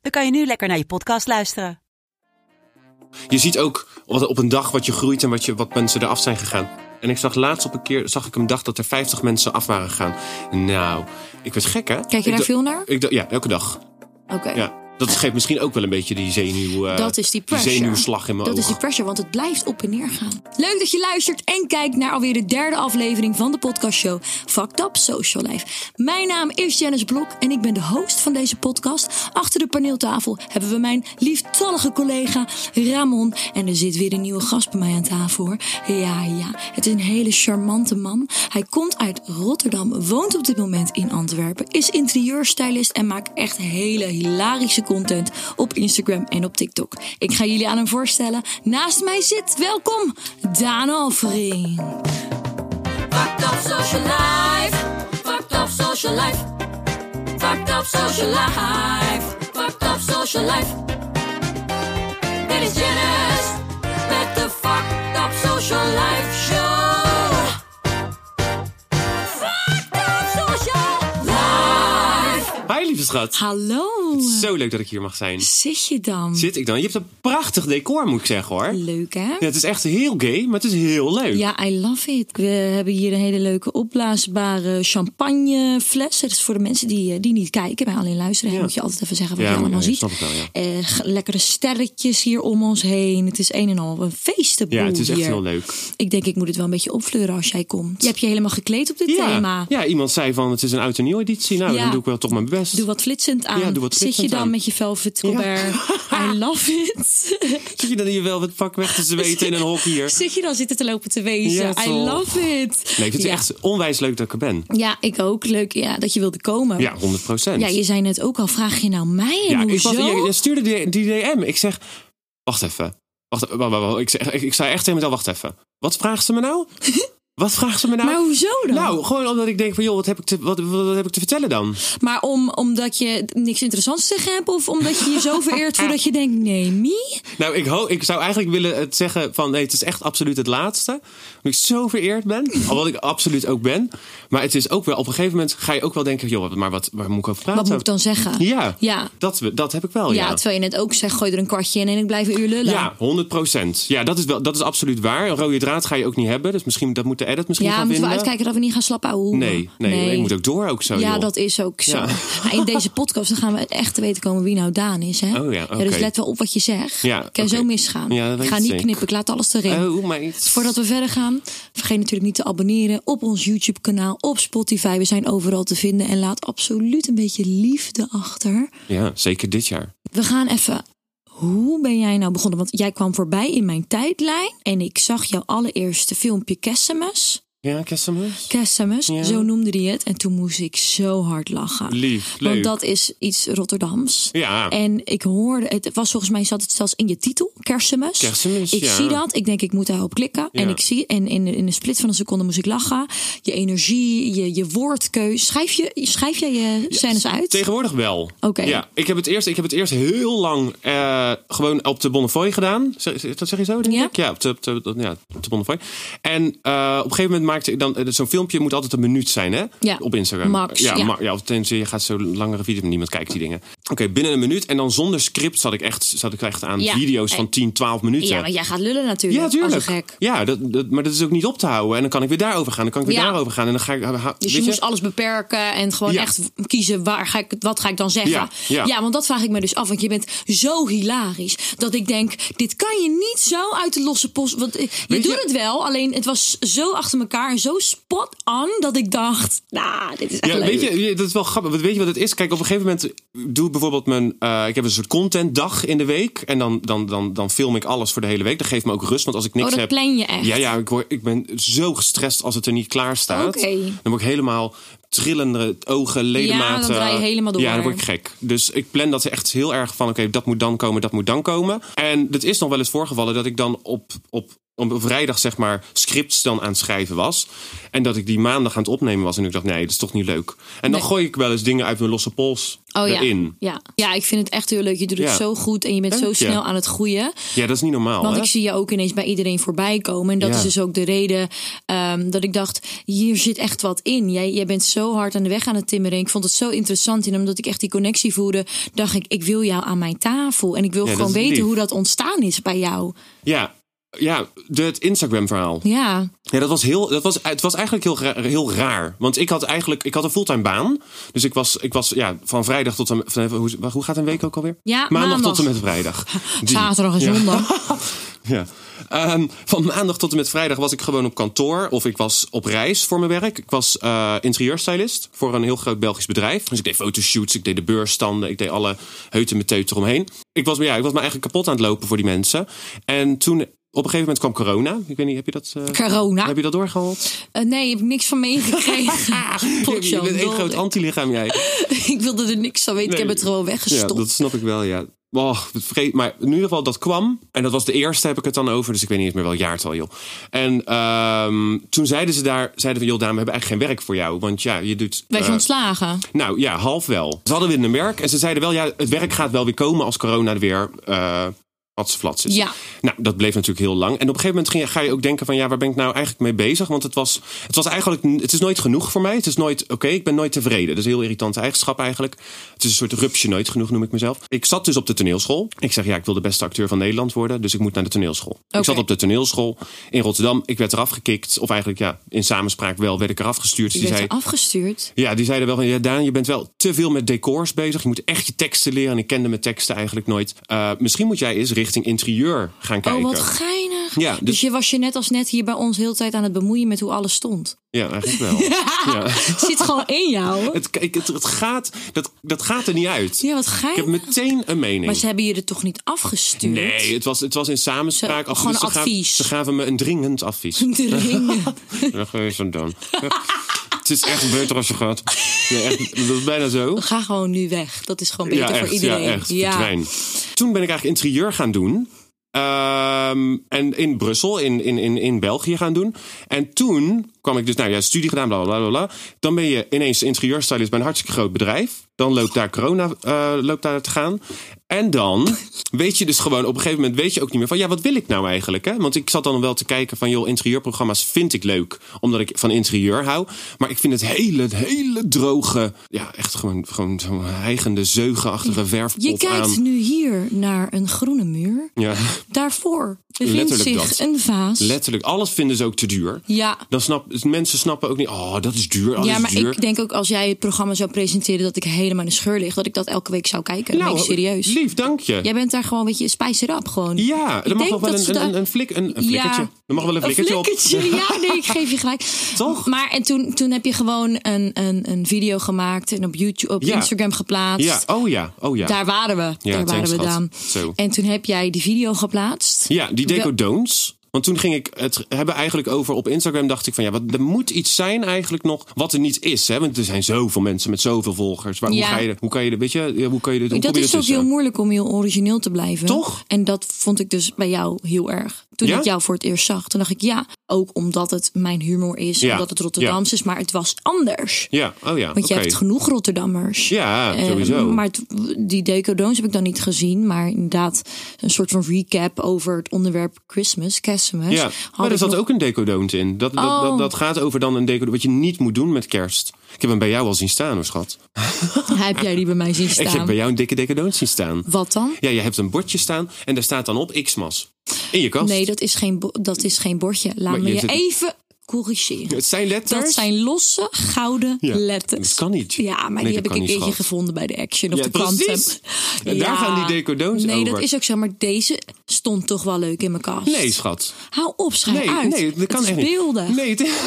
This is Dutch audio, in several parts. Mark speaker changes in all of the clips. Speaker 1: dan kan je nu lekker naar je podcast luisteren.
Speaker 2: Je ziet ook wat- op een dag wat je groeit en wat, je, wat mensen eraf zijn gegaan. En ik zag laatst op een keer, zag ik een dag dat er 50 mensen af waren gegaan. Nou, ik werd gek hè.
Speaker 3: Kijk
Speaker 2: Ik
Speaker 3: je daar
Speaker 2: dacht-
Speaker 3: veel naar?
Speaker 2: Ik dacht, ja, elke dag.
Speaker 3: Oké.
Speaker 2: Ja. Dat geeft misschien ook wel een beetje die zenuw... eh,
Speaker 3: Dat is die pressure.
Speaker 2: zenuwslag in mijn
Speaker 3: Dat
Speaker 2: oog.
Speaker 3: is die pressure, want het blijft op en neer gaan. Leuk dat je luistert en kijkt naar alweer de derde aflevering van de podcastshow Fucked Up Social Life. Mijn naam is Janice Blok en ik ben de host van deze podcast. Achter de paneeltafel hebben we mijn lieftallige collega Ramon. En er zit weer een nieuwe gast bij mij aan tafel hoor. Ja, ja, het is een hele charmante man. Hij komt uit Rotterdam, woont op dit moment in Antwerpen, is interieurstylist en maakt echt hele hilarische content op Instagram en op TikTok. Ik ga jullie aan hem voorstellen. Naast mij zit, welkom, Daan Alvering. Fucked up social life, fucked up social life, fucked up social life, fucked up social life. Dit is Janice met de fucked up social life show. Fucked up social life.
Speaker 2: Hi lieve schat.
Speaker 3: Hallo,
Speaker 2: Zo leuk dat ik hier mag zijn.
Speaker 3: zit je dan?
Speaker 2: Zit ik dan? Je hebt een prachtig decor moet ik zeggen hoor.
Speaker 3: Leuk hè?
Speaker 2: Ja, het is echt heel gay, maar het is heel leuk.
Speaker 3: Ja, I love it. We hebben hier een hele leuke opblaasbare champagnefles. Dat is voor de mensen die, eh, die niet kijken, maar alleen luisteren. hè,
Speaker 2: Ja.
Speaker 3: Moet je altijd even zeggen wat
Speaker 2: Ja,
Speaker 3: je
Speaker 2: maar-
Speaker 3: allemaal
Speaker 2: ja,
Speaker 3: ziet.
Speaker 2: snap ik wel, ja.
Speaker 3: Eh, g- lekkere sterretjes hier om ons heen. Het is een en al een feestenboel
Speaker 2: Ja, het is echt
Speaker 3: hier.
Speaker 2: heel leuk.
Speaker 3: Ik denk, ik moet het wel een beetje opfleuren als jij komt. Je hebt je helemaal gekleed op dit
Speaker 2: Ja.
Speaker 3: thema.
Speaker 2: ja, iemand zei van het is een oud en nieuw editie. Nou,
Speaker 3: Ja.
Speaker 2: dan doe ik wel toch mijn best.
Speaker 3: Doe wat flitsend aan.
Speaker 2: Ja, doe wat
Speaker 3: Zit
Speaker 2: flitsend
Speaker 3: je dan
Speaker 2: aan.
Speaker 3: met je velvet colbert? I love it.
Speaker 2: Zit je dan hier wel het pak weg te zweten in een hok hier?
Speaker 3: Zit je dan zitten te lopen te wezen?
Speaker 2: Ja,
Speaker 3: I
Speaker 2: toch.
Speaker 3: love it.
Speaker 2: Nee, ik vind
Speaker 3: ja.
Speaker 2: het echt onwijs leuk dat ik er ben.
Speaker 3: Ja, ik ook. Leuk ja, dat je wilde komen.
Speaker 2: Ja, 100 procent.
Speaker 3: Ja, je zei net ook al, vraag je nou mij en
Speaker 2: ik
Speaker 3: hoezo?
Speaker 2: was, dus- je, je stuurde die, die DM. Ik zeg, wacht even. Wacht, wa- wa- wa- Ik, zeg, ik, ik zei echt tegen mezelf, wacht even. Wat vraagt ze me nou? Wat vraagt ze me nou?
Speaker 3: Maar hoezo dan?
Speaker 2: Nou, gewoon omdat ik denk van, joh, wat heb ik te, wat, wat, wat heb ik te vertellen dan?
Speaker 3: Maar om, omdat je niks interessants te zeggen hebt of omdat je je zo vereert voordat je denkt, nee, me?
Speaker 2: Nou, ik, ho- ik zou eigenlijk willen het zeggen van, nee, het is echt absoluut het laatste. Omdat ik zo vereerd ben. Al wat ik absoluut ook ben. Maar het is ook wel, op een gegeven moment ga je ook wel denken, joh, maar wat, waar moet ik over praten?
Speaker 3: Wat moet ik dan zeggen?
Speaker 2: Ja,
Speaker 3: Ja.
Speaker 2: Dat, dat heb ik wel,
Speaker 3: Ja, terwijl je net ook zegt, gooi er een kwartje in en ik blijf een uur lullen.
Speaker 2: Ja, 100 procent. Ja, dat is, wel, dat is absoluut waar. Een rode draad ga je ook niet hebben. Dus misschien dat moet de edit misschien
Speaker 3: Ja,
Speaker 2: gaan
Speaker 3: moeten
Speaker 2: vinden.
Speaker 3: we uitkijken dat we niet gaan slappen ouwe hoeren.
Speaker 2: Nee, nee, ik moet ook door ook zo.
Speaker 3: ja,
Speaker 2: joh.
Speaker 3: dat is ook zo.
Speaker 2: Ja.
Speaker 3: Maar In deze podcast dan gaan we echt te weten komen wie nou Daan is. Hè?
Speaker 2: Oh ja,
Speaker 3: dus
Speaker 2: oké.
Speaker 3: let wel op wat je zegt.
Speaker 2: Ja,
Speaker 3: kan
Speaker 2: oké.
Speaker 3: zo misgaan.
Speaker 2: Ja, dat
Speaker 3: ik
Speaker 2: weet
Speaker 3: ga
Speaker 2: ik
Speaker 3: niet
Speaker 2: zeker.
Speaker 3: knippen, ik laat alles erin.
Speaker 2: Oh, meid.
Speaker 3: Voordat we verder gaan, vergeet natuurlijk niet te abonneren op ons YouTube-kanaal, op Spotify. We zijn overal te vinden en laat absoluut een beetje liefde achter.
Speaker 2: Ja, zeker dit jaar.
Speaker 3: We gaan even. Hoe ben jij nou begonnen? Want jij kwam voorbij in mijn tijdlijn en ik zag jouw allereerste filmpje Kerstmis.
Speaker 2: Ja, Kerstmis?
Speaker 3: Kerstmis,
Speaker 2: Ja.
Speaker 3: zo noemde die het. En toen moest ik zo hard lachen.
Speaker 2: Lief,
Speaker 3: Want
Speaker 2: leuk.
Speaker 3: dat is iets Rotterdams.
Speaker 2: Ja.
Speaker 3: En ik hoorde, het was volgens mij zat het zelfs in je titel, Kerstmis.
Speaker 2: Kerstmis,
Speaker 3: Ik
Speaker 2: ja.
Speaker 3: zie dat, ik denk ik moet daarop klikken. En
Speaker 2: Ja.
Speaker 3: ik zie, en in, in een split van een seconde moest ik lachen. Je energie, je, je woordkeus. Schrijf, je, schrijf jij je scènes uit?
Speaker 2: Tegenwoordig wel.
Speaker 3: Oké.
Speaker 2: Ja, ik heb het eerst, ik heb het eerst heel lang eh, gewoon op de Bonnefoy gedaan. Zeg, dat zeg je zo, denk
Speaker 3: Ja.
Speaker 2: ik? Ja, op de, op de, op de- ja, op de Bonnefoy. En eh, op een gegeven moment maakte ik dan... eh, Zo'n filmpje moet altijd een minuut zijn, hè?
Speaker 3: Ja.
Speaker 2: Op Instagram.
Speaker 3: Max,
Speaker 2: Ja,
Speaker 3: ja.
Speaker 2: ma- ja of tenzij je gaat zo'n langere video... maar Niemand kijkt die dingen. Oké, binnen een minuut. En dan zonder script zat ik echt, zat ik echt aan
Speaker 3: Ja.
Speaker 2: video's
Speaker 3: En-
Speaker 2: van 10, 12 minuten.
Speaker 3: ja, maar jij gaat lullen natuurlijk.
Speaker 2: Ja,
Speaker 3: Als
Speaker 2: tuurlijk.
Speaker 3: een gek.
Speaker 2: Ja, dat, dat- maar dat is ook niet op te houden. En dan kan ik weer daarover gaan. Dan kan ik weer
Speaker 3: Ja.
Speaker 2: daarover gaan. En dan ga ik. ha- ha-
Speaker 3: Dus
Speaker 2: weet
Speaker 3: je,
Speaker 2: je?
Speaker 3: moest alles beperken en gewoon
Speaker 2: Ja.
Speaker 3: echt kiezen waar ga ik, wat ga ik dan zeggen.
Speaker 2: Ja, ja.
Speaker 3: want dat vraag ik me dus af. Want je bent zo hilarisch dat ik denk, dit kan je niet zo uit de losse post. Want eh, je
Speaker 2: Weet
Speaker 3: doet
Speaker 2: je-
Speaker 3: het wel, alleen het was zo achter elkaar elkaar en zo spot on dat ik dacht, nou, dit is echt
Speaker 2: Ja,
Speaker 3: leuk.
Speaker 2: weet je, dat is wel grappig. Want Weet je wat het is? Kijk, op een gegeven moment doe ik bijvoorbeeld mijn. eh, ik heb een soort contentdag in de week. En dan, dan, dan, dan film ik alles voor de hele week. Dat geeft me ook rust. Want als ik niks
Speaker 3: Oh, dat
Speaker 2: heb.
Speaker 3: plan je echt?
Speaker 2: Ja, ja ik, word, ik ben zo gestrest als het er niet klaar staat.
Speaker 3: Oké.
Speaker 2: Dan word ik helemaal trillende ogen, ledematen.
Speaker 3: Ja, dan draai je helemaal door.
Speaker 2: Ja, dan word ik gek. Dus ik plan dat echt heel erg van: oké, dat moet dan komen, dat moet dan komen. En het is nog wel eens voorgevallen dat ik dan op. op op een vrijdag, zeg maar, scripts dan aan het schrijven was. En dat ik die maandag aan het opnemen was. En ik dacht, nee, dat is toch niet leuk. En dan
Speaker 3: Nee.
Speaker 2: gooi ik wel eens dingen uit mijn losse pols
Speaker 3: Oh ja.
Speaker 2: erin.
Speaker 3: ja. Ja, ik vind het echt heel leuk. Je doet het
Speaker 2: Ja.
Speaker 3: zo goed en je bent
Speaker 2: Dank
Speaker 3: zo
Speaker 2: je.
Speaker 3: snel aan het groeien.
Speaker 2: Ja, dat is niet normaal.
Speaker 3: Want
Speaker 2: hè?
Speaker 3: ik zie je ook ineens bij iedereen voorbij komen. En dat
Speaker 2: Ja.
Speaker 3: is dus ook de reden ehm, dat ik dacht, hier zit echt wat in. Jij, jij bent zo hard aan de weg aan het timmeren. Ik vond het zo interessant. En omdat ik echt die connectie voelde, dacht ik, ik wil jou aan mijn tafel. En ik wil
Speaker 2: Ja,
Speaker 3: gewoon
Speaker 2: dat is
Speaker 3: weten
Speaker 2: lief.
Speaker 3: hoe dat ontstaan is bij jou.
Speaker 2: Ja, ja de- het Instagram-verhaal.
Speaker 3: Ja,
Speaker 2: Ja, dat was heel, dat was, het was eigenlijk heel, ra- heel raar. Want ik had eigenlijk ik had een fulltime baan. Dus ik was, ik was ja, van vrijdag tot en van, hoe, hoe gaat een week ook alweer?
Speaker 3: Ja,
Speaker 2: maandag,
Speaker 3: maandag.
Speaker 2: tot en met vrijdag. Die.
Speaker 3: zaterdag en
Speaker 2: Ja.
Speaker 3: zondag.
Speaker 2: Ja. Ehm, van maandag tot en met vrijdag was ik gewoon op kantoor. Of ik was op reis voor mijn werk. Ik was eh, interieurstylist voor een heel groot Belgisch bedrijf. Dus ik deed fotoshoots, ik deed de beursstanden, ik deed alle heuten met teut eromheen. Ik was, ja, ik was me eigenlijk kapot aan het lopen voor die mensen. En toen, op een gegeven moment kwam corona. Ik weet niet, heb je dat... eh,
Speaker 3: Corona.
Speaker 2: Heb je dat doorgehaald?
Speaker 3: Eh, nee, ik heb niks van meegekregen. Potjan,
Speaker 2: je bent één
Speaker 3: dol.
Speaker 2: groot antilichaam, jij.
Speaker 3: ik wilde er niks van weten. Ik
Speaker 2: Nee.
Speaker 3: heb het
Speaker 2: Ja,
Speaker 3: gewoon weggestopt.
Speaker 2: dat snap ik wel, ja. Oh, het vreet- maar in ieder geval, dat kwam. En dat was de eerste, heb ik het dan over. Dus ik weet niet eens meer wel jaartal, joh. En ehm, toen zeiden ze daar, zeiden we, joh, Daan, we hebben eigenlijk geen werk voor jou. Want ja, je doet...
Speaker 3: Werd je
Speaker 2: eh,
Speaker 3: ontslagen?
Speaker 2: nou ja, half wel. Ze hadden weer een werk en ze zeiden wel, ja, het werk gaat wel weer komen als corona er weer eh flats is.
Speaker 3: Ja.
Speaker 2: Nou, dat bleef natuurlijk heel lang. En op een gegeven moment ging, je- ga je ook denken van, ja, waar ben ik nou eigenlijk mee bezig? Want het was, het was eigenlijk, n- het is nooit genoeg voor mij. Het is nooit, oké, ik ben nooit tevreden. Dat is een heel irritante eigenschap eigenlijk. Het is een soort rupsje nooit genoeg, noem ik mezelf. Ik zat dus op de toneelschool. Ik zeg, ja, ik wil de beste acteur van Nederland worden, dus ik moet naar de toneelschool.
Speaker 3: Oké.
Speaker 2: Ik zat op de toneelschool in Rotterdam. Ik werd eraf gekikt, of eigenlijk, ja, in samenspraak wel, werd ik eraf gestuurd.
Speaker 3: Je
Speaker 2: Die
Speaker 3: werd
Speaker 2: zei,
Speaker 3: afgestuurd.
Speaker 2: ja, die zeiden wel van, ja Daan, je bent wel te veel met decors bezig. Je moet echt je teksten leren. En ik kende mijn teksten eigenlijk nooit. Eh, misschien moet jij eens richting interieur gaan kijken.
Speaker 3: Oh, wat geinig.
Speaker 2: Ja,
Speaker 3: dus...
Speaker 2: dus-
Speaker 3: je was je net als net hier bij ons heel de tijd aan het bemoeien met hoe alles stond.
Speaker 2: Ja, eigenlijk wel. ja.
Speaker 3: Zit gewoon in jou.
Speaker 2: het, ik- het, het gaat, dat, dat gaat er niet uit.
Speaker 3: Ja, wat
Speaker 2: Ik heb
Speaker 3: geinig.
Speaker 2: meteen een mening.
Speaker 3: Maar ze hebben je er toch niet afgestuurd?
Speaker 2: Nee, het was, het was in samenspraak.
Speaker 3: Ze-
Speaker 2: Ach,
Speaker 3: gewoon
Speaker 2: dus ze gaven-
Speaker 3: advies.
Speaker 2: ze gaven me een dringend advies.
Speaker 3: De ringen.
Speaker 2: Weg is het dan. Het is echt beter als je gaat. Ja, echt, dat is bijna zo.
Speaker 3: Ga gewoon nu weg. Dat is gewoon beter
Speaker 2: ja, echt,
Speaker 3: voor iedereen.
Speaker 2: Ja, echt. verdwijn. Toen ben ik eigenlijk interieur gaan doen. Ehm, en in Brussel, in, in, in, in België gaan doen. En toen kwam ik dus, nou ja, studie gedaan, bla bla bla bla. Dan ben je ineens interieurstylist bij een hartstikke groot bedrijf. Dan loopt daar corona eh, loopt daar te gaan. En dan weet je dus gewoon, op een gegeven moment weet je ook niet meer van, ja, wat wil ik nou eigenlijk? Hè? Want ik zat dan wel te kijken van, joh, interieurprogramma's vind ik leuk, omdat ik van interieur hou. Maar ik vind het hele, hele droge, ja, echt gewoon, gewoon zo'n hijgende, zeugenachtige verfpop
Speaker 3: Je kijkt
Speaker 2: aan.
Speaker 3: nu hier naar een groene muur.
Speaker 2: Ja,
Speaker 3: Daarvoor bevindt
Speaker 2: Letterlijk
Speaker 3: zich
Speaker 2: dat.
Speaker 3: een vaas.
Speaker 2: letterlijk. Alles vinden ze ook te duur.
Speaker 3: ja,
Speaker 2: Dan snap, mensen snappen ook niet, oh, dat is duur, alles
Speaker 3: ja, maar
Speaker 2: is duur.
Speaker 3: ik denk ook als jij het programma zou presenteren dat ik helemaal in de scheur lig, dat ik dat elke week zou kijken. Nou, ben ik serieus.
Speaker 2: lief, dank je.
Speaker 3: Jij bent daar gewoon, weet je, spijs erop gewoon.
Speaker 2: Ja, er mag
Speaker 3: denk
Speaker 2: nog wel
Speaker 3: dat
Speaker 2: een,
Speaker 3: ze
Speaker 2: een,
Speaker 3: daar-
Speaker 2: een, een flik, een, een flikkertje. er mag wel een flikkertje, op.
Speaker 3: flikkertje, ja, nee, ik geef je gelijk.
Speaker 2: Toch?
Speaker 3: Maar en toen, toen heb je gewoon een, een, een video gemaakt en op YouTube, op
Speaker 2: Ja.
Speaker 3: Instagram geplaatst.
Speaker 2: Ja, oh ja, oh ja.
Speaker 3: Daar waren we. daar waren
Speaker 2: thanks,
Speaker 3: we,
Speaker 2: schat.
Speaker 3: Daan.
Speaker 2: Zo.
Speaker 3: En toen heb jij die video geplaatst.
Speaker 2: Ja, die
Speaker 3: Wel-
Speaker 2: deco don'ts. Want toen ging ik het hebben eigenlijk over op Instagram. Dacht ik van ja, wat, er moet iets zijn eigenlijk nog wat er niet is. Hè? Want er zijn zoveel mensen met zoveel volgers. Maar
Speaker 3: Ja.
Speaker 2: hoe ga je, hoe kan je, weet je, hoe kan je dit, hoe
Speaker 3: dat
Speaker 2: kom je
Speaker 3: is ook
Speaker 2: ertussen?
Speaker 3: heel moeilijk om heel origineel te blijven.
Speaker 2: Toch?
Speaker 3: En dat vond ik dus bij jou heel erg. Toen
Speaker 2: Ja?
Speaker 3: ik jou voor het eerst zag, toen dacht ik ja. Ook omdat het mijn humor is,
Speaker 2: Ja,
Speaker 3: omdat het Rotterdams is. Maar het was anders.
Speaker 2: Ja, oh ja,
Speaker 3: Want
Speaker 2: oké.
Speaker 3: je hebt genoeg Rotterdammers.
Speaker 2: Ja,
Speaker 3: Eh,
Speaker 2: sowieso.
Speaker 3: maar het- die decodoons heb ik dan niet gezien. Maar inderdaad, een soort van recap over het onderwerp Christmas, Kerstmis.
Speaker 2: Ja,
Speaker 3: Had
Speaker 2: maar
Speaker 3: ik
Speaker 2: er zat
Speaker 3: nog-
Speaker 2: ook een decodont in. Dat, dat,
Speaker 3: Oh.
Speaker 2: dat, dat gaat over dan een decodont wat je niet moet doen met kerst. Ik heb hem bij jou al zien staan hoor schat.
Speaker 3: Heb jij die bij mij zien
Speaker 2: Ik heb
Speaker 3: staan?
Speaker 2: bij jou een dikke decodont zien staan.
Speaker 3: Wat dan?
Speaker 2: Ja, je hebt een bordje staan en daar staat dan op Xmas. In je kast.
Speaker 3: Nee, dat is geen, bo- dat is geen bordje. Laat
Speaker 2: Maar
Speaker 3: me
Speaker 2: je
Speaker 3: je
Speaker 2: zit-
Speaker 3: even corrigeren.
Speaker 2: Het zijn letters.
Speaker 3: Dat zijn losse gouden
Speaker 2: Ja,
Speaker 3: letters.
Speaker 2: dat kan niet.
Speaker 3: Ja, maar
Speaker 2: Nee,
Speaker 3: die
Speaker 2: dat
Speaker 3: heb ik
Speaker 2: kan
Speaker 3: een
Speaker 2: niet,
Speaker 3: keertje
Speaker 2: schat.
Speaker 3: gevonden bij de Action op
Speaker 2: Ja,
Speaker 3: de kant.
Speaker 2: precies. En daar gaan die decodoons
Speaker 3: nee,
Speaker 2: over.
Speaker 3: dat is ook zo. Maar deze stond toch wel leuk in mijn kast.
Speaker 2: Nee, schat.
Speaker 3: Hou op, schrijf
Speaker 2: Nee,
Speaker 3: uit.
Speaker 2: nee, dat kan
Speaker 3: het is
Speaker 2: echt niet.
Speaker 3: beeldig.
Speaker 2: Nee, het is...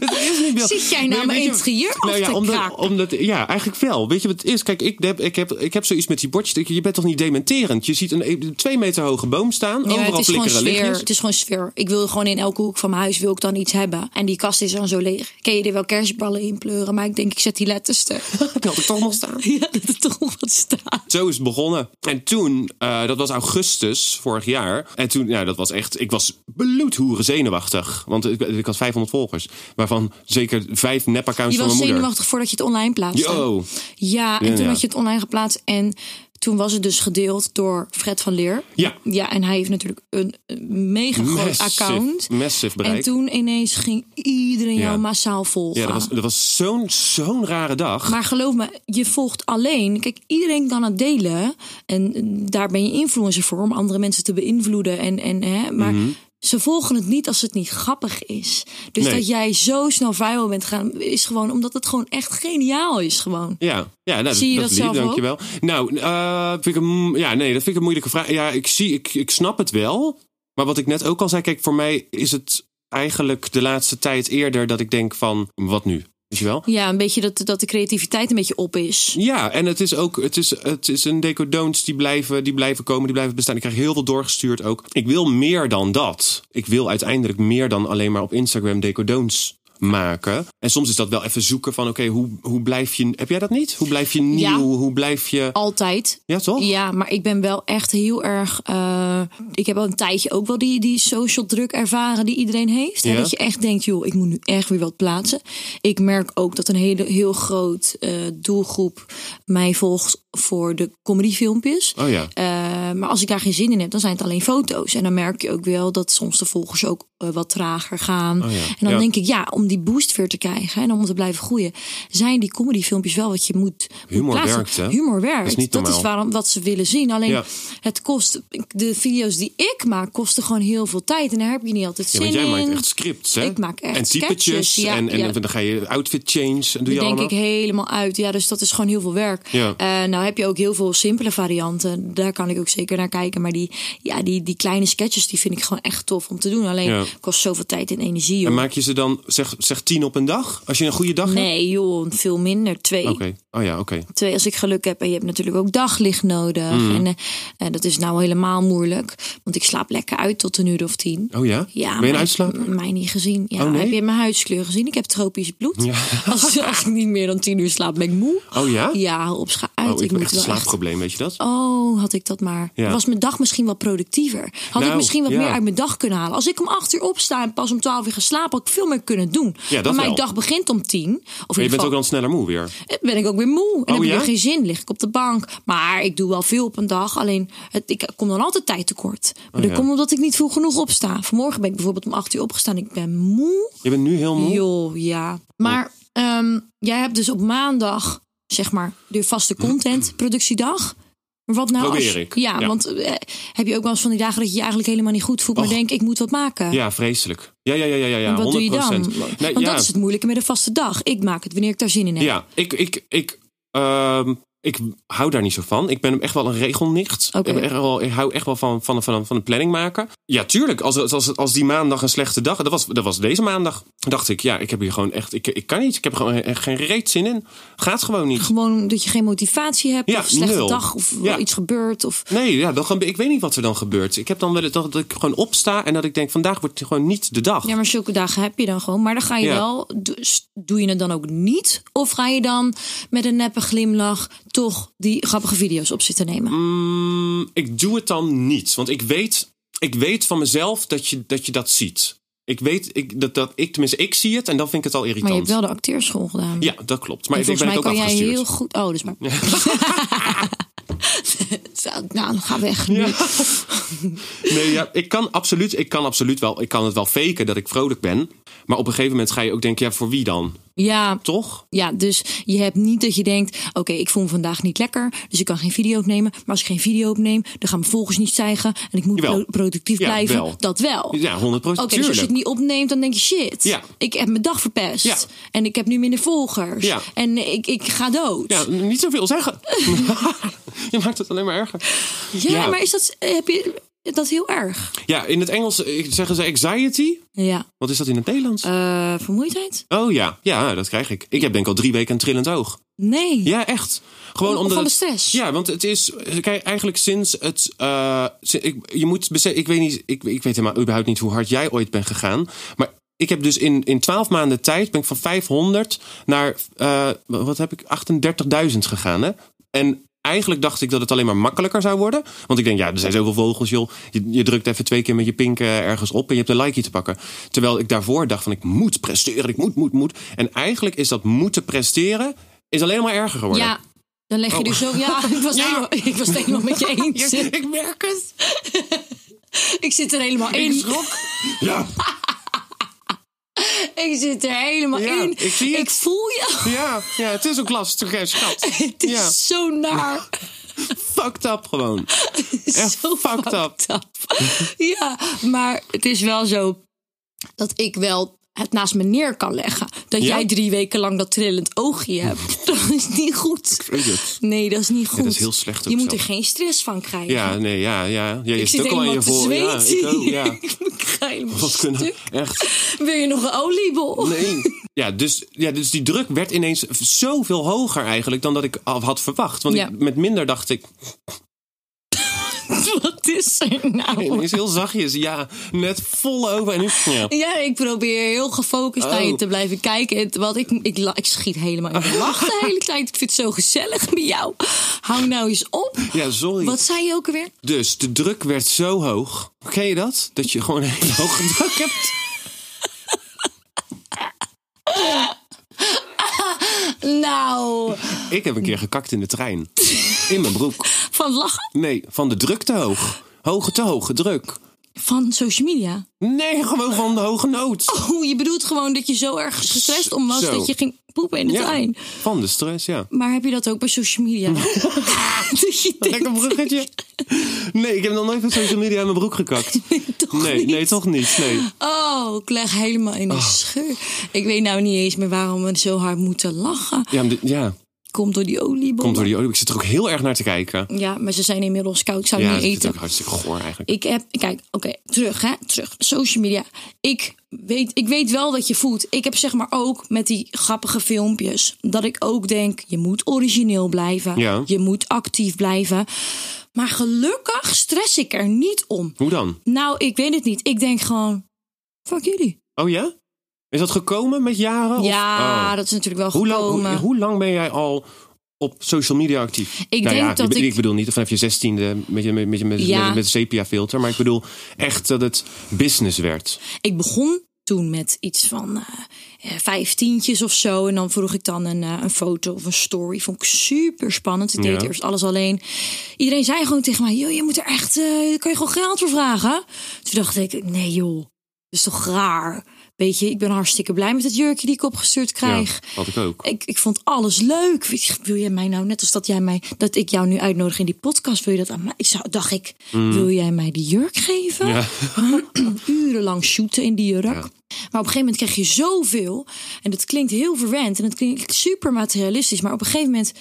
Speaker 2: Het is niet beeldig.
Speaker 3: Zit jij nou
Speaker 2: Nee, weet
Speaker 3: mijn
Speaker 2: je-
Speaker 3: interieur af te
Speaker 2: omdat,
Speaker 3: kraken?
Speaker 2: omdat, Ja, eigenlijk wel. Weet je wat het is? Kijk, ik heb, ik heb, ik heb zoiets met die bordjes. Ik- Je bent toch niet dementerend? Je ziet een, een twee meter hoge boom staan.
Speaker 3: Ja,
Speaker 2: overal
Speaker 3: het, is gewoon
Speaker 2: flikkeren
Speaker 3: sfeer,
Speaker 2: lichtjes.
Speaker 3: het is gewoon sfeer. Ik wil gewoon in elke hoek van mijn huis wil ik dan iets hebben. En die kast is dan zo leeg. Kun je er wel kerstballen in pleuren? Maar ik denk, ik zet die letters er.
Speaker 2: Dat had ik toch nog staan.
Speaker 3: ja, dat er toch nog wat staat.
Speaker 2: Zo is het begonnen. En toen, eh, dat was augustus vorig jaar. En toen, nou, dat was echt, ik was bloedhoeren zenuwachtig. Want ik, ik had 500 volgers. Waarvan zeker vijf
Speaker 3: Je
Speaker 2: nepaccounts van
Speaker 3: was
Speaker 2: mijn moeder.
Speaker 3: zenuwachtig voordat je het online plaatste.
Speaker 2: Yo.
Speaker 3: Ja, en
Speaker 2: Ja,
Speaker 3: toen
Speaker 2: ja.
Speaker 3: had je het online geplaatst. En toen was het dus gedeeld door Fred van Leer.
Speaker 2: Ja.
Speaker 3: Ja, en hij heeft natuurlijk een een mega groot
Speaker 2: Massive-
Speaker 3: account.
Speaker 2: massive bereik.
Speaker 3: En toen ineens ging iedereen
Speaker 2: Ja.
Speaker 3: jou massaal volgen.
Speaker 2: Ja, dat was, dat was zo'n zo'n rare dag.
Speaker 3: Maar geloof me, je volgt alleen. Kijk, iedereen kan het delen. En daar ben je influencer voor om andere mensen te beïnvloeden. En, en, hè, maar
Speaker 2: Mhm.
Speaker 3: ze volgen het niet als het niet grappig is. Dus
Speaker 2: Nee.
Speaker 3: dat jij zo snel viral bent gaan, is gewoon omdat het gewoon echt geniaal is. Gewoon.
Speaker 2: Ja, ja nou,
Speaker 3: Zie je
Speaker 2: dat,
Speaker 3: dat
Speaker 2: is lief,
Speaker 3: zelf ook?
Speaker 2: dankjewel. Nou, eh, vind ik een, mo- ja, nee, dat vind ik een moeilijke vraag. Ja, ik, zie, ik, ik snap het wel. Maar wat ik net ook al zei, kijk, voor mij is het eigenlijk de laatste tijd eerder dat ik denk van, wat nu? Weet je wel?
Speaker 3: Ja, een beetje dat, dat de creativiteit een beetje op is.
Speaker 2: Ja, en het is ook, het is, het is een decodons die blijven, die blijven komen, die blijven bestaan. Ik krijg heel veel doorgestuurd ook. Ik wil meer dan dat. Ik wil uiteindelijk meer dan alleen maar op Instagram decodons maken. En soms is dat wel even zoeken van, oké, hoe, hoe blijf je... Heb jij dat niet? Hoe blijf je nieuw?
Speaker 3: Ja.
Speaker 2: Hoe blijf je...
Speaker 3: Altijd.
Speaker 2: Ja, toch?
Speaker 3: Ja, maar ik ben wel echt heel erg. eh, ik heb al een tijdje ook wel die, die social druk ervaren die iedereen heeft. Hè,
Speaker 2: Ja.
Speaker 3: Dat je echt denkt, joh, ik moet nu echt weer wat plaatsen. Ik merk ook dat een hele, heel groot eh, doelgroep mij volgt voor de comedyfilmpjes.
Speaker 2: Oh ja.
Speaker 3: Eh, maar als ik daar geen zin in heb, dan zijn het alleen foto's. En dan merk je ook wel dat soms de volgers ook eh, wat trager gaan.
Speaker 2: Oh ja.
Speaker 3: En dan
Speaker 2: Ja.
Speaker 3: denk ik, ja, om die boost weer te krijgen en om te blijven groeien, zijn die comedyfilmpjes wel wat je moet. moet
Speaker 2: Humor
Speaker 3: plaatsen.
Speaker 2: werkt, hè?
Speaker 3: Humor werkt.
Speaker 2: Dat is niet normaal.
Speaker 3: waarom wat ze willen zien. Alleen
Speaker 2: Ja.
Speaker 3: het kost. De video's die ik maak, kosten gewoon heel veel tijd. En daar heb je niet altijd
Speaker 2: Ja,
Speaker 3: zin
Speaker 2: want jij
Speaker 3: in.
Speaker 2: maakt echt scripts, hè?
Speaker 3: Ik maak echt
Speaker 2: En typetjes.
Speaker 3: sketches, ja,
Speaker 2: en, en,
Speaker 3: ja.
Speaker 2: dan ga je outfit change. En doe je
Speaker 3: Die denk
Speaker 2: allemaal.
Speaker 3: ik helemaal uit. Ja, dus dat is gewoon heel veel werk.
Speaker 2: Ja.
Speaker 3: Eh, nou heb je ook heel veel simpele varianten. Daar kan ik ook zeker naar kijken. Maar die, ja, die, die kleine sketches die vind ik gewoon echt tof om te doen. Alleen
Speaker 2: Ja.
Speaker 3: kost zoveel tijd en energie. Joh.
Speaker 2: En maak je ze dan, zeg, zeg tien op een dag? Als je een goede dag hebt?
Speaker 3: Nee joh, veel minder. Twee.
Speaker 2: Oké. Oh ja, oké.
Speaker 3: Twee, als ik geluk heb. En je hebt natuurlijk ook daglicht nodig.
Speaker 2: Mhm.
Speaker 3: En eh, eh, dat is nou helemaal moeilijk. Want ik slaap lekker uit tot een uur of tien.
Speaker 2: Oh ja?
Speaker 3: Ja,
Speaker 2: ben je een
Speaker 3: mij-
Speaker 2: uitslaper?
Speaker 3: Mij niet gezien. Ja,
Speaker 2: Oh, nee?
Speaker 3: Heb je mijn huidskleur gezien? Ik heb tropisch bloed. Als, als ik niet meer dan tien uur slaap, ben ik moe.
Speaker 2: Oh ja?
Speaker 3: Ja, hou op scha uit.
Speaker 2: Oh, ik heb
Speaker 3: moet
Speaker 2: echt een
Speaker 3: wel
Speaker 2: slaapprobleem, weet je dat?
Speaker 3: Oh, had ik dat maar.
Speaker 2: Ja.
Speaker 3: Was mijn dag misschien wat productiever? Had
Speaker 2: Nou,
Speaker 3: ik misschien wat
Speaker 2: ja.
Speaker 3: meer uit mijn dag kunnen halen? Als ik om acht uur opsta en pas om twaalf uur ga slapen, had ik veel meer kunnen doen.
Speaker 2: dat
Speaker 3: maar mijn
Speaker 2: wel.
Speaker 3: dag begint om tien. Of in
Speaker 2: Maar je
Speaker 3: ieder
Speaker 2: bent
Speaker 3: geval
Speaker 2: ook dan sneller moe weer.
Speaker 3: ben ik ook weer moe.
Speaker 2: Oh,
Speaker 3: En heb ik
Speaker 2: ja?
Speaker 3: weer geen zin. Lig ik op de bank. Maar ik doe wel veel op een dag. Alleen het, ik kom dan altijd tijd tekort. Maar dat
Speaker 2: Oh ja.
Speaker 3: komt omdat ik niet vroeg genoeg opsta. Vanmorgen ben ik bijvoorbeeld om acht uur opgestaan. Ik ben moe.
Speaker 2: Je bent nu heel moe.
Speaker 3: Joh, ja. Maar ehm, jij hebt dus op maandag, zeg maar, de vaste content productiedag. Maar wat nou
Speaker 2: Probeer
Speaker 3: als...
Speaker 2: ik,
Speaker 3: Ja,
Speaker 2: ja.
Speaker 3: want eh, heb je ook wel eens van die dagen dat je je eigenlijk helemaal niet goed voelt. Maar
Speaker 2: Och.
Speaker 3: denkt, ik moet wat maken.
Speaker 2: Ja, vreselijk. Ja, ja, ja, ja, ja. ja
Speaker 3: En wat
Speaker 2: 100%.
Speaker 3: doe je dan?
Speaker 2: Nee,
Speaker 3: Want
Speaker 2: ja.
Speaker 3: dat is het moeilijke met een vaste dag. Ik maak het wanneer ik daar zin in heb.
Speaker 2: Ja, ik, ik, ik, ehm, ik hou daar niet zo van. Ik ben echt wel een regelnicht.
Speaker 3: Oké.
Speaker 2: Ik, ben echt wel, ik hou echt wel van, van, van, van een planning maken. Ja, tuurlijk. Als, als, als die maandag een slechte dag... Dat was, dat was deze maandag. Dacht ik, ja, ik heb hier gewoon echt... Ik, ik kan niet. Ik heb gewoon echt geen reet zin in. Gaat gewoon niet.
Speaker 3: Gewoon dat je geen motivatie hebt.
Speaker 2: Ja,
Speaker 3: of een slechte
Speaker 2: nul.
Speaker 3: dag. Of
Speaker 2: Ja.
Speaker 3: iets gebeurt. Of...
Speaker 2: Nee, ja, dan, gaan- ik weet niet wat er dan gebeurt. Ik heb dan wel het dat ik gewoon opsta en dat ik denk... Vandaag wordt gewoon niet de dag.
Speaker 3: Ja, maar zulke dagen heb je dan gewoon. Maar dan ga je
Speaker 2: Ja.
Speaker 3: wel. Dus doe je het dan ook niet? Of ga je dan met een neppe glimlach toch die grappige video's op zitten nemen?
Speaker 2: Mm, ik doe het dan niet. Want ik weet, ik weet van mezelf dat je dat, je dat ziet. Ik weet ik, dat, dat ik, tenminste, ik zie het en dan vind ik het al
Speaker 3: maar je
Speaker 2: irritant.
Speaker 3: hebt wel de acteerschool gedaan.
Speaker 2: Ja, dat klopt. Maar
Speaker 3: En
Speaker 2: ik ben
Speaker 3: volgens mij
Speaker 2: ik ook
Speaker 3: kan
Speaker 2: afgestuurd.
Speaker 3: jij heel goed. Oh, dus maar. nou, ga weg. nu.
Speaker 2: Ja. Nee, ja, ik kan absoluut, ik kan absoluut wel, ik kan het wel faken dat ik vrolijk ben. Maar op een gegeven moment ga je ook denken, ja, voor wie dan?
Speaker 3: Ja,
Speaker 2: Toch?
Speaker 3: ja, dus je hebt niet dat je denkt: oké, ik voel me vandaag niet lekker, dus ik kan geen video opnemen. Maar als ik geen video opneem, dan gaan mijn volgers niet stijgen en ik moet
Speaker 2: Jawel.
Speaker 3: pro- productief
Speaker 2: Ja,
Speaker 3: blijven.
Speaker 2: wel.
Speaker 3: Dat wel.
Speaker 2: Ja, 100
Speaker 3: Oké,
Speaker 2: procent.
Speaker 3: dus als je het niet opneemt, dan denk je shit.
Speaker 2: Ja.
Speaker 3: Ik heb mijn dag verpest.
Speaker 2: Ja.
Speaker 3: En ik heb nu minder volgers.
Speaker 2: Ja.
Speaker 3: En ik, ik ga dood.
Speaker 2: Ja, niet zoveel zeggen. je maakt het alleen maar erger.
Speaker 3: Ja,
Speaker 2: Ja.
Speaker 3: maar is dat, heb je dat heel erg?
Speaker 2: Ja, in het Engels eh, zeggen ze anxiety.
Speaker 3: Ja.
Speaker 2: Wat is dat in het Nederlands?
Speaker 3: Eh, vermoeidheid?
Speaker 2: Oh ja, ja, dat krijg ik. Ik heb denk ik al drie weken een trillend oog.
Speaker 3: Nee.
Speaker 2: Ja, echt. Gewoon
Speaker 3: Om-
Speaker 2: omdat
Speaker 3: van de
Speaker 2: het-
Speaker 3: stress?
Speaker 2: Ja, want het is. Kijk, eigenlijk sinds het. eh, si- ik, je moet beseffen. Ik weet niet. Ik, ik weet helemaal überhaupt niet hoe hard jij ooit bent gegaan. Maar ik heb dus in, in 12 maanden tijd. ben ik van 500 naar. eh, wat heb ik? 38.000 gegaan, hè? En. Eigenlijk dacht ik dat het alleen maar makkelijker zou worden. Want ik denk, ja, er zijn zoveel vogels, joh. Je, je drukt even twee keer met je pink eh, ergens op en je hebt een likeje te pakken. Terwijl ik daarvoor dacht van, ik moet presteren, ik moet, moet, moet. En eigenlijk is dat moeten presteren, is alleen maar erger geworden.
Speaker 3: Ja, dan leg je
Speaker 2: Oh.
Speaker 3: dus zo. Ja, ik was,
Speaker 2: Ja.
Speaker 3: Helemaal, ik was het helemaal met je eens.
Speaker 2: ik merk het.
Speaker 3: Ik zit er helemaal in.
Speaker 2: Ja.
Speaker 3: Ik zit er helemaal
Speaker 2: Ja,
Speaker 3: in.
Speaker 2: ik zie het.
Speaker 3: voel je.
Speaker 2: Ja, ja, het is ook lastig, hè, schat.
Speaker 3: Het is
Speaker 2: Ja.
Speaker 3: zo naar.
Speaker 2: Fucked up gewoon. Echt
Speaker 3: zo
Speaker 2: fucked up.
Speaker 3: ja, maar het is wel zo dat ik wel het naast me neer kan leggen. Dat
Speaker 2: Ja?
Speaker 3: jij drie weken lang dat trillend oogje hebt. Dat is niet goed.
Speaker 2: weet het.
Speaker 3: Nee, dat is niet goed.
Speaker 2: dat is heel slecht ook
Speaker 3: Je moet er
Speaker 2: zelf.
Speaker 3: geen stress van krijgen.
Speaker 2: Ja, nee, ja, ja. Jij
Speaker 3: ik
Speaker 2: zit
Speaker 3: zit
Speaker 2: ook al aan
Speaker 3: helemaal
Speaker 2: je
Speaker 3: te
Speaker 2: voor. Ja, ik
Speaker 3: zweten.
Speaker 2: ook, ja.
Speaker 3: ik ga helemaal
Speaker 2: Wat kunnen,
Speaker 3: stuk.
Speaker 2: echt.
Speaker 3: Wil je nog een oliebol?
Speaker 2: Nee. Ja dus, ja, dus die druk werd ineens zoveel hoger eigenlijk dan dat ik al had verwacht. Want
Speaker 3: Ja.
Speaker 2: ik, met minder dacht ik,
Speaker 3: Wat is er nou?
Speaker 2: ineens heel zachtjes, ja, net vol over. En nu, ja.
Speaker 3: Ja, ik probeer heel gefocust naar je
Speaker 2: Oh.
Speaker 3: te blijven kijken. Het- Want ik, ik, la- ik schiet helemaal in de lach de hele tijd. Ik vind het zo gezellig met jou. Hou nou eens op.
Speaker 2: ja, sorry.
Speaker 3: Wat zei je ook alweer?
Speaker 2: Dus de druk werd zo hoog. Ken je dat? Dat je gewoon een hele hoge druk hebt.
Speaker 3: Nou,
Speaker 2: Ik heb een keer gekakt in de trein. In mijn broek.
Speaker 3: van lachen?
Speaker 2: Nee, van de druk te hoog. Hoge te hoge druk.
Speaker 3: Van social media?
Speaker 2: Nee, gewoon van de hoge nood.
Speaker 3: Oeh, je bedoelt gewoon dat je zo erg gestrest om was
Speaker 2: Zo.
Speaker 3: dat je ging poepen in de trein.
Speaker 2: Van de stress, ja.
Speaker 3: Maar heb je dat ook bij social media? dat je denkt,
Speaker 2: Lekker bruggetje. Nee, ik heb nog nooit van social media aan mijn broek gekakt.
Speaker 3: nee, toch
Speaker 2: Nee,
Speaker 3: niet.
Speaker 2: nee, toch Oh. niet. Nee.
Speaker 3: Oh, ik leg helemaal in de scheur. Ik weet nou niet eens meer waarom we zo hard moeten lachen.
Speaker 2: Ja, maar dit- ja.
Speaker 3: Komt door die oliebol.
Speaker 2: komt door die olie. Ik zit er ook heel erg naar te kijken.
Speaker 3: Ja, maar ze zijn inmiddels koud. Ik zou
Speaker 2: Ja,
Speaker 3: niet
Speaker 2: ik vind het
Speaker 3: eten.
Speaker 2: ook hartstikke goor eigenlijk.
Speaker 3: Ik heb, kijk, oké, terug, hè, terug. Social media. Ik weet, ik weet wel dat je voelt. Ik heb zeg maar ook met die grappige filmpjes. Dat ik ook denk, je moet origineel blijven.
Speaker 2: Ja.
Speaker 3: Je moet actief blijven. Maar gelukkig stress ik er niet om.
Speaker 2: Hoe dan?
Speaker 3: Nou, ik weet het niet. Ik denk gewoon, fuck jullie.
Speaker 2: Oh ja? Is dat gekomen met jaren? of-
Speaker 3: Ja,
Speaker 2: Oh.
Speaker 3: dat is natuurlijk wel
Speaker 2: Hoe lang,
Speaker 3: gekomen.
Speaker 2: hoe, hoe lang ben jij al op social media actief? Nou
Speaker 3: Ik denk
Speaker 2: ja,
Speaker 3: dat
Speaker 2: ik,
Speaker 3: ik-
Speaker 2: bedoel niet vanaf je zestiende met je met, met, je- met,
Speaker 3: Ja.
Speaker 2: met, met sepia filter, maar ik bedoel echt dat het business werd.
Speaker 3: Ik begon toen met iets van eh, eh, vijf tientjes of zo. En dan vroeg ik dan een, eh, een foto of een story. Vond ik super spannend. Ik deed
Speaker 2: Ja.
Speaker 3: eerst alles alleen. Iedereen zei gewoon tegen mij: joh, je moet er echt, eh kan je gewoon geld voor vragen. Toen dacht ik: nee, joh, dat is toch raar. Weet je, ik ben hartstikke blij met het jurkje die ik opgestuurd krijg.
Speaker 2: Ja, had ik ook.
Speaker 3: Ik, ik vond alles leuk. Ik zeg, Wil jij mij nou, net als dat jij mij, dat ik jou nu uitnodig in die podcast, wil je dat aan mij? Ik zou, dacht ik, wil jij mij die jurk geven?
Speaker 2: Mm. Ja.
Speaker 3: urenlang shooten in die jurk. Maar op een gegeven moment krijg je zoveel. En dat klinkt heel verwend. En het klinkt super materialistisch. Maar op een gegeven moment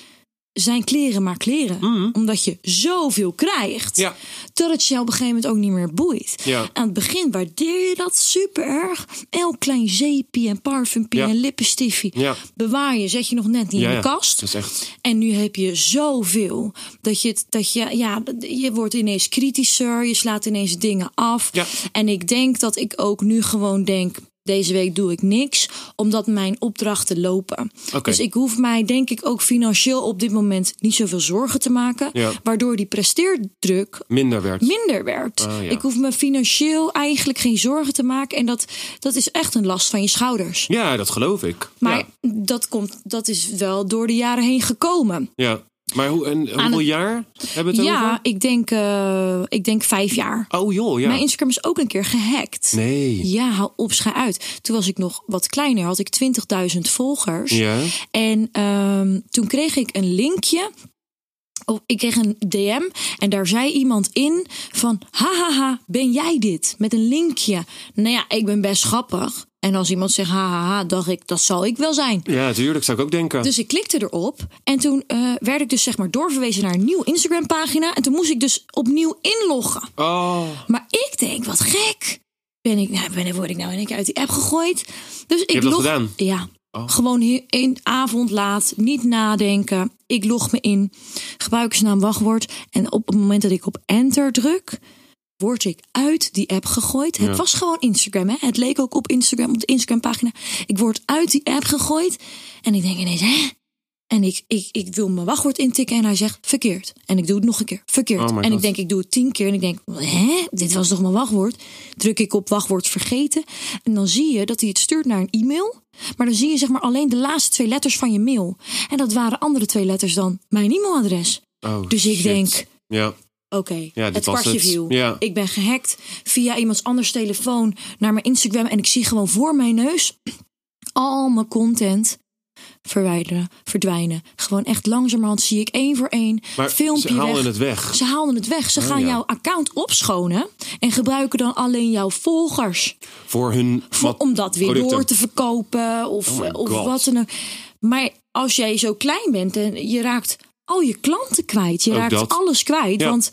Speaker 3: zijn kleren maar kleren. Omdat je zoveel krijgt.
Speaker 2: Mm. Ja.
Speaker 3: Dat het je op een gegeven moment ook niet meer boeit.
Speaker 2: Ja.
Speaker 3: Aan het begin waardeer je dat super erg. Elk klein zeepje en parfumpje
Speaker 2: Ja.
Speaker 3: en lippenstiftje.
Speaker 2: Ja.
Speaker 3: Bewaar je, zet je nog net niet
Speaker 2: Ja,
Speaker 3: in
Speaker 2: ja.
Speaker 3: de kast.
Speaker 2: Dat is echt-
Speaker 3: En nu heb je zoveel. Dat je, het- dat je, ja, je wordt ineens kritischer. Je slaat ineens dingen af.
Speaker 2: Ja.
Speaker 3: En ik denk dat ik ook nu gewoon denk. Deze week doe ik niks, omdat mijn opdrachten lopen.
Speaker 2: Oké.
Speaker 3: Dus ik hoef mij, denk ik, ook financieel op dit moment niet zoveel zorgen te maken.
Speaker 2: Ja.
Speaker 3: Waardoor die presteerdruk
Speaker 2: Minder werd.
Speaker 3: minder werd.
Speaker 2: Ah, ja.
Speaker 3: Ik hoef me financieel eigenlijk geen zorgen te maken. En dat, dat is echt een last van je schouders.
Speaker 2: ja, dat geloof ik.
Speaker 3: Maar
Speaker 2: Ja.
Speaker 3: dat, komt, dat is wel door de jaren heen gekomen.
Speaker 2: ja. Maar hoe, en, hoeveel
Speaker 3: het-
Speaker 2: jaar hebben we het
Speaker 3: Ja,
Speaker 2: over?
Speaker 3: ik denk, eh, ik denk vijf jaar.
Speaker 2: Oh joh, ja.
Speaker 3: Mijn Instagram is ook een keer gehackt.
Speaker 2: Nee.
Speaker 3: Ja, hou op, schij uit. Toen was ik nog wat kleiner, had ik 20.000 volgers.
Speaker 2: Ja.
Speaker 3: En ehm, toen kreeg ik een linkje. Oh, ik kreeg een DM en daar zei iemand in van... Hahaha, ben jij dit? Met een linkje. Nou ja, ik ben best grappig. En als iemand zegt hahaha, dacht ik, dat zal ik wel zijn.
Speaker 2: Ja, tuurlijk, zou ik ook denken.
Speaker 3: Dus ik klikte erop en toen eh, werd ik dus zeg maar doorverwezen naar een nieuwe Instagram pagina. En toen moest ik dus opnieuw inloggen.
Speaker 2: Oh,
Speaker 3: Maar ik denk, wat gek. Ben ik, nou, ben, word ik nou in één keer uit die app gegooid? Dus ik
Speaker 2: hebt dat
Speaker 3: log,
Speaker 2: gedaan? Oh.
Speaker 3: Ja. Gewoon he- een avond laat, niet nadenken. Ik log me in, gebruikersnaam, wachtwoord. En op het moment dat ik op enter druk, word ik uit die app gegooid. Het was gewoon Instagram, hè? Het leek ook op Instagram, op de Instagram-pagina. Ik word uit die app gegooid. En ik denk ineens, hè? En ik, ik, ik wil mijn wachtwoord intikken en hij zegt verkeerd. En ik doe het nog een keer verkeerd.
Speaker 2: Oh my
Speaker 3: en ik
Speaker 2: God.
Speaker 3: denk, ik doe het tien keer. En ik denk, hè? Dit was toch mijn wachtwoord? Druk ik op wachtwoord vergeten. En dan zie je dat hij het stuurt naar een e-mail. Maar dan zie je zeg maar alleen de laatste twee letters van je mail. En dat waren andere twee letters dan mijn e-mailadres.
Speaker 2: oh,
Speaker 3: Dus ik
Speaker 2: shit.
Speaker 3: denk,
Speaker 2: Ja.
Speaker 3: Oké,
Speaker 2: dit
Speaker 3: het
Speaker 2: was
Speaker 3: kwartje
Speaker 2: het.
Speaker 3: view.
Speaker 2: Ja.
Speaker 3: Ik ben gehackt via iemands anders telefoon naar mijn Instagram. En ik zie gewoon voor mijn neus al mijn content verwijderen, verdwijnen. Gewoon echt langzamerhand zie ik één voor één
Speaker 2: Maar
Speaker 3: filmpje
Speaker 2: ze haalden
Speaker 3: weg.
Speaker 2: het weg.
Speaker 3: Ze haalden het weg. Ze
Speaker 2: Oh,
Speaker 3: gaan
Speaker 2: ja.
Speaker 3: jouw account opschonen en gebruiken dan alleen jouw volgers.
Speaker 2: Voor hun
Speaker 3: Voor-
Speaker 2: wat-
Speaker 3: om dat weer
Speaker 2: producten.
Speaker 3: door te verkopen of,
Speaker 2: Oh my
Speaker 3: of
Speaker 2: God.
Speaker 3: wat dan ook. Maar als jij zo klein bent en je raakt al je klanten kwijt. Je
Speaker 2: Ook
Speaker 3: raakt
Speaker 2: dat.
Speaker 3: alles kwijt.
Speaker 2: Ja.
Speaker 3: Want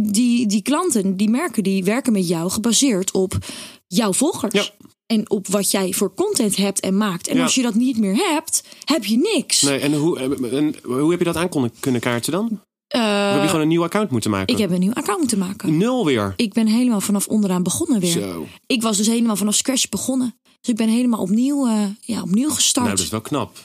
Speaker 3: die, die klanten, die merken, die werken met jou gebaseerd op jouw volgers.
Speaker 2: Ja.
Speaker 3: En op wat jij voor content hebt en maakt. En
Speaker 2: Ja.
Speaker 3: als je dat niet meer hebt, heb je niks.
Speaker 2: Nee, en hoe, eh, en hoe heb je dat aan kon- kunnen kaarten dan?
Speaker 3: Eh,
Speaker 2: Of heb je gewoon een nieuw account moeten maken?
Speaker 3: ik heb een nieuw account te maken.
Speaker 2: Nul weer. Nou,
Speaker 3: Ik ben helemaal vanaf onderaan begonnen weer.
Speaker 2: Zo.
Speaker 3: Ik was dus helemaal vanaf scratch begonnen. Dus ik ben helemaal opnieuw, eh, ja, opnieuw gestart.
Speaker 2: Nou, dat is wel knap.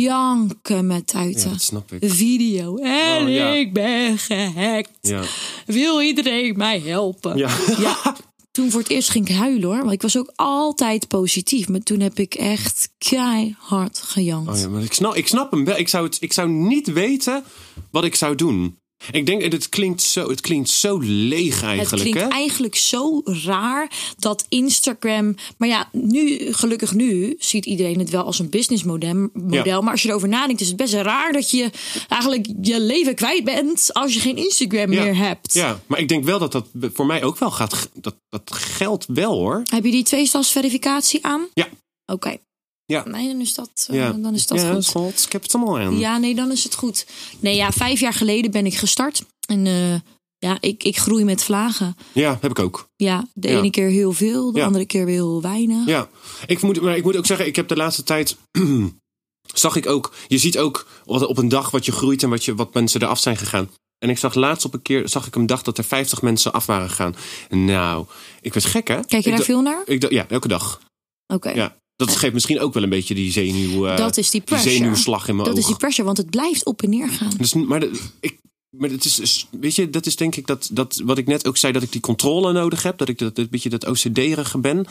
Speaker 3: janken met tuiten.
Speaker 2: Ja, dat snap ik.
Speaker 3: De video. En
Speaker 2: Oh, ja.
Speaker 3: ik ben gehackt.
Speaker 2: Ja.
Speaker 3: Wil iedereen mij helpen?
Speaker 2: Ja.
Speaker 3: Ja. Toen voor het eerst ging ik huilen hoor. Want ik was ook altijd positief. Maar toen heb ik echt keihard gejankt.
Speaker 2: Oh ja, maar ik snap, ik snap hem wel. Ik zou, het, ik zou niet weten wat ik zou doen. Ik denk, het klinkt zo, het klinkt zo leeg
Speaker 3: Het
Speaker 2: eigenlijk.
Speaker 3: klinkt
Speaker 2: hè?
Speaker 3: eigenlijk zo raar dat Instagram. Maar ja, nu, gelukkig nu, ziet iedereen het wel als een businessmodel. Model,
Speaker 2: Ja.
Speaker 3: Maar als je erover nadenkt, is het best raar dat je eigenlijk je leven kwijt bent. als je geen Instagram meer hebt.
Speaker 2: Ja, maar ik denk wel dat dat voor mij ook wel gaat. ge- Dat, dat geldt wel hoor.
Speaker 3: Heb je die tweestadsverificatie aan?
Speaker 2: Ja.
Speaker 3: Oké.
Speaker 2: Ja.
Speaker 3: Nee, dan is dat, eh,
Speaker 2: Ja,
Speaker 3: dan is dat
Speaker 2: ja,
Speaker 3: goed.
Speaker 2: Schat, ik heb het allemaal aan.
Speaker 3: Ja, nee, dan is het goed. Nee, ja, vijf jaar geleden ben ik gestart. En eh, ja, ik, ik groei met vlagen.
Speaker 2: Ja, heb ik ook.
Speaker 3: Ja, de
Speaker 2: Ja.
Speaker 3: ene keer heel veel, de
Speaker 2: Ja.
Speaker 3: andere keer weer heel weinig.
Speaker 2: Ja, ik moet, maar ik moet ook zeggen, ik heb de laatste tijd. zag ik ook. Je ziet ook wat- op een dag wat je groeit en wat, je, wat mensen eraf zijn gegaan. En ik zag laatst op een keer, zag ik een dag dat er 50 mensen af waren gegaan. Nou, ik werd gek hè.
Speaker 3: Kijk je
Speaker 2: ik
Speaker 3: daar
Speaker 2: da-
Speaker 3: veel naar? Oké.
Speaker 2: ik da- Ja, elke dag. Ja. Dat geeft misschien ook wel een beetje die zenuw. eh,
Speaker 3: dat is die
Speaker 2: die
Speaker 3: pressure.
Speaker 2: zenuwslag in mijn
Speaker 3: dat is die
Speaker 2: ogen.
Speaker 3: pressure, want het blijft op en neer gaan.
Speaker 2: Dus, maar de- ik. Maar het is- is, weet je, dat is denk ik dat, dat wat ik net ook zei, dat ik die controle nodig heb. Dat ik dat, dat beetje dat OCD-erige ben.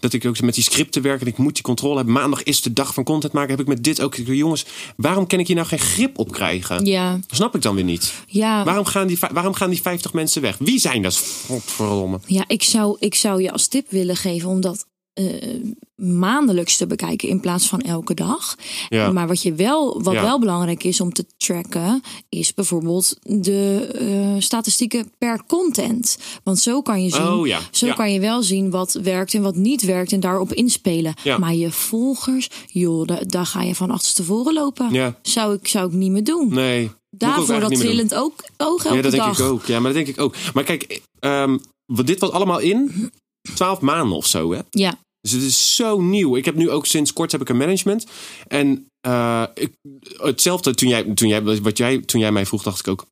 Speaker 2: Dat ik ook met die scripten werk en ik moet die controle hebben. Maandag is de dag van content maken. Heb ik met dit ook. Ik, jongens, waarom kan ik hier nou geen grip op krijgen?
Speaker 3: Ja,
Speaker 2: Snap ik dan weer niet.
Speaker 3: ja.
Speaker 2: Waarom gaan die, va- waarom gaan die 50 mensen weg? Wie zijn dat? Godverdomme.
Speaker 3: Ja, ik zou, ik zou je als tip willen geven om dat eh, maandelijks te bekijken in plaats van elke dag.
Speaker 2: Ja.
Speaker 3: Maar wat, je wel, wat
Speaker 2: Ja.
Speaker 3: wel belangrijk is om te tracken, is bijvoorbeeld de eh, statistieken per content. Want zo kan je zien,
Speaker 2: Oh, ja.
Speaker 3: zo
Speaker 2: Ja.
Speaker 3: kan je wel zien wat werkt en wat niet werkt en daarop inspelen.
Speaker 2: Ja.
Speaker 3: Maar je volgers, joh, da- daar ga je van achterstevoren lopen.
Speaker 2: Ja.
Speaker 3: Zou, ik, zou ik niet meer doen.
Speaker 2: Nee. moet ik ook
Speaker 3: Daarvoor
Speaker 2: eigenlijk
Speaker 3: dat
Speaker 2: niet meer doen.
Speaker 3: trillend ook, oog elke
Speaker 2: Ja, dat
Speaker 3: dag.
Speaker 2: denk ik ook. Ja, maar dat denk ik ook. Maar kijk, ehm, wat dit was allemaal in 12 maanden of zo, hè?
Speaker 3: Ja.
Speaker 2: Dus het is zo nieuw. Ik heb nu ook sinds kort heb ik een management. En eh, ik, hetzelfde toen jij, toen, jij, wat jij, toen jij mij vroeg, dacht ik ook...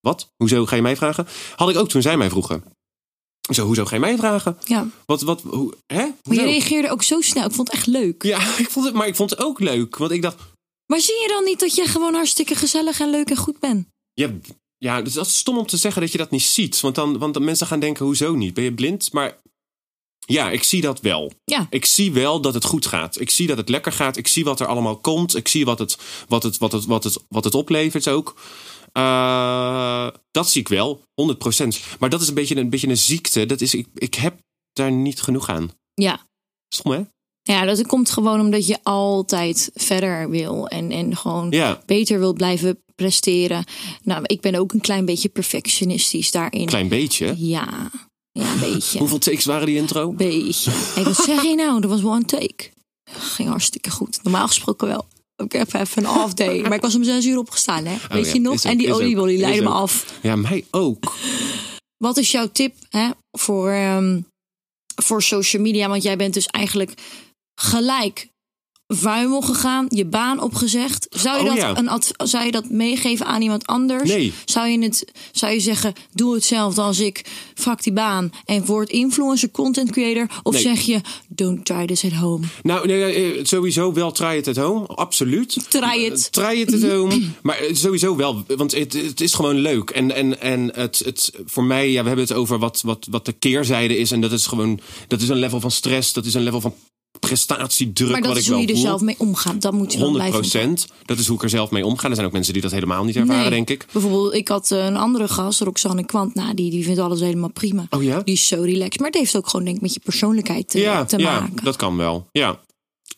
Speaker 2: Wat? Hoezo ga je mij vragen? Had ik ook toen zij mij vroegen. Zo, hoezo ga je mij vragen?
Speaker 3: ja.
Speaker 2: Wat, wat, hoe, hè?
Speaker 3: Maar je
Speaker 2: Hoezo?
Speaker 3: reageerde ook zo snel. Ik vond het echt leuk.
Speaker 2: Nou. Ja, ik vond het, maar ik vond het ook leuk. Want ik dacht,
Speaker 3: Maar zie je dan niet dat je gewoon hartstikke gezellig en leuk en goed bent?
Speaker 2: Ja, ja dus dat is stom om te zeggen dat je dat niet ziet. Want dan want dan mensen gaan denken, hoezo niet? Ben je blind? Maar Ja, ik zie dat wel.
Speaker 3: Ja.
Speaker 2: Ik zie wel dat het goed gaat. Ik zie dat het lekker gaat. Ik zie wat er allemaal komt. Ik zie wat het, wat het, wat het, wat het, wat het oplevert ook. Eh, dat zie ik wel, 100%. Maar dat is een beetje een, beetje een ziekte. Dat is, ik, ik heb daar niet genoeg aan.
Speaker 3: Ja.
Speaker 2: Stom, hè?
Speaker 3: Ja, dat komt gewoon omdat je altijd verder wil en, en gewoon
Speaker 2: Ja.
Speaker 3: beter wil blijven presteren. Nou, ik ben ook een klein beetje perfectionistisch daarin.
Speaker 2: Klein beetje. hè?
Speaker 3: Ja, ja, een beetje.
Speaker 2: Hoeveel takes waren die intro?
Speaker 3: beetje. En wat zeg je nou? Dat was one take. Ging hartstikke goed. Normaal gesproken wel. Ik heb even een half day. Maar ik was om zes uur opgestaan, hè? Weet
Speaker 2: Oh ja,
Speaker 3: je nog?
Speaker 2: is ook,
Speaker 3: en die
Speaker 2: is ook,
Speaker 3: oliebolly
Speaker 2: is
Speaker 3: leidde me
Speaker 2: ook.
Speaker 3: af.
Speaker 2: Ja, mij ook.
Speaker 3: Wat is jouw tip hè, voor, ehm, voor social media? Want jij bent dus eigenlijk gelijk vuimel gegaan, je baan opgezegd. Zou je,
Speaker 2: Oh,
Speaker 3: dat,
Speaker 2: ja.
Speaker 3: een ad- zou je dat meegeven aan iemand anders?
Speaker 2: Nee.
Speaker 3: Zou je, het, zou je zeggen, doe hetzelfde als ik, fuck die baan en word influencer, content creator? Of
Speaker 2: Nee.
Speaker 3: zeg je, don't try this at home?
Speaker 2: Nou, nee, eh, sowieso wel try it at home. Absoluut.
Speaker 3: Try it.
Speaker 2: Eh, Try it at home. Maar eh, sowieso wel. Want het, het is gewoon leuk. En, en, en het, het, voor mij, ja, we hebben het over wat, wat, wat de keerzijde is. En dat is gewoon, dat is een level van stress. Dat is een level van prestatiedruk.
Speaker 3: maar dat
Speaker 2: wat
Speaker 3: is
Speaker 2: ik wel
Speaker 3: hoe je er
Speaker 2: voel.
Speaker 3: zelf mee omgaat. Dat moet je wel blijven
Speaker 2: 100 Dat is hoe ik er zelf mee omga. Er zijn ook mensen die dat helemaal niet ervaren,
Speaker 3: Nee.
Speaker 2: denk ik.
Speaker 3: Bijvoorbeeld, ik had eh, een andere gast, Roxanne Kwant. Nou, die, die vindt alles helemaal prima.
Speaker 2: Oh ja?
Speaker 3: Die is zo relaxed. Maar het heeft ook gewoon, denk ik, met je persoonlijkheid te,
Speaker 2: ja,
Speaker 3: te
Speaker 2: ja,
Speaker 3: maken.
Speaker 2: dat kan wel. Ja.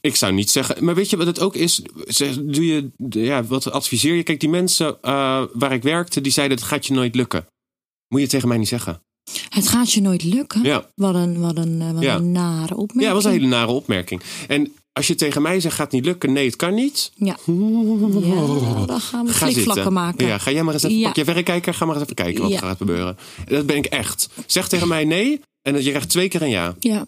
Speaker 2: Ik zou niet zeggen. Maar weet je wat het ook is? Zeg, doe je, ja, wat adviseer je? Kijk, die mensen eh, waar ik werkte, die zeiden: het gaat je nooit lukken. Moet je tegen mij niet zeggen.
Speaker 3: Het gaat je nooit lukken.
Speaker 2: Ja.
Speaker 3: Wat een, wat een, eh, wat
Speaker 2: Ja.
Speaker 3: een nare opmerking.
Speaker 2: Ja, dat was een hele nare opmerking. En als je tegen mij zegt: gaat niet lukken, nee, het kan niet.
Speaker 3: Ja. Ja, dan gaan we
Speaker 2: Ga zitten.
Speaker 3: flikvlakken maken.
Speaker 2: Ja, ga jij maar eens even.
Speaker 3: Ja.
Speaker 2: Pak je verrekijker, ga maar eens even kijken wat
Speaker 3: Ja.
Speaker 2: er gaat gebeuren. Dat ben ik echt. Zeg tegen mij nee en dat je krijgt twee keer een ja.
Speaker 3: Ja. That's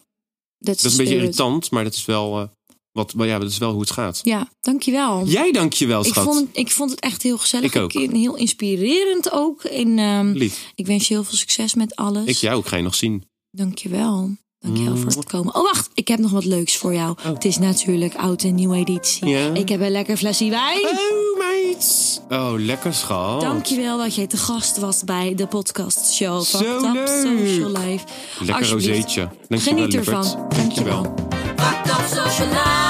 Speaker 2: Dat is een
Speaker 3: the
Speaker 2: beetje
Speaker 3: spirit.
Speaker 2: irritant, maar dat is wel, eh, wat, wel ja, dat is wel hoe het gaat.
Speaker 3: Ja, dankjewel.
Speaker 2: Jij dankjewel,
Speaker 3: ik,
Speaker 2: schat.
Speaker 3: vond, het- ik vond het echt heel gezellig.
Speaker 2: Ik ook.
Speaker 3: En heel inspirerend ook. En, ehm,
Speaker 2: Lief.
Speaker 3: ik wens je heel veel succes met alles.
Speaker 2: Ik jou ook, ga je nog zien.
Speaker 3: Dankjewel. Dankjewel
Speaker 2: Mm.
Speaker 3: voor het komen. Oh, wacht. Ik heb nog wat leuks voor jou. Het is natuurlijk oud en nieuwe editie.
Speaker 2: Oh. Ja.
Speaker 3: Ik heb een lekker flesje wijn.
Speaker 2: Oh, meid. Oh, lekker schat.
Speaker 3: Dankjewel dat jij te gast was bij de podcast show.
Speaker 2: Oh. Zo leuk.
Speaker 3: Social Life.
Speaker 2: Lekker
Speaker 3: Alsjeblieft.
Speaker 2: rozeetje. Dankjewel,
Speaker 3: Geniet
Speaker 2: lieverd.
Speaker 3: ervan. Dankjewel.
Speaker 2: Dankjewel.
Speaker 3: Fucked up social life.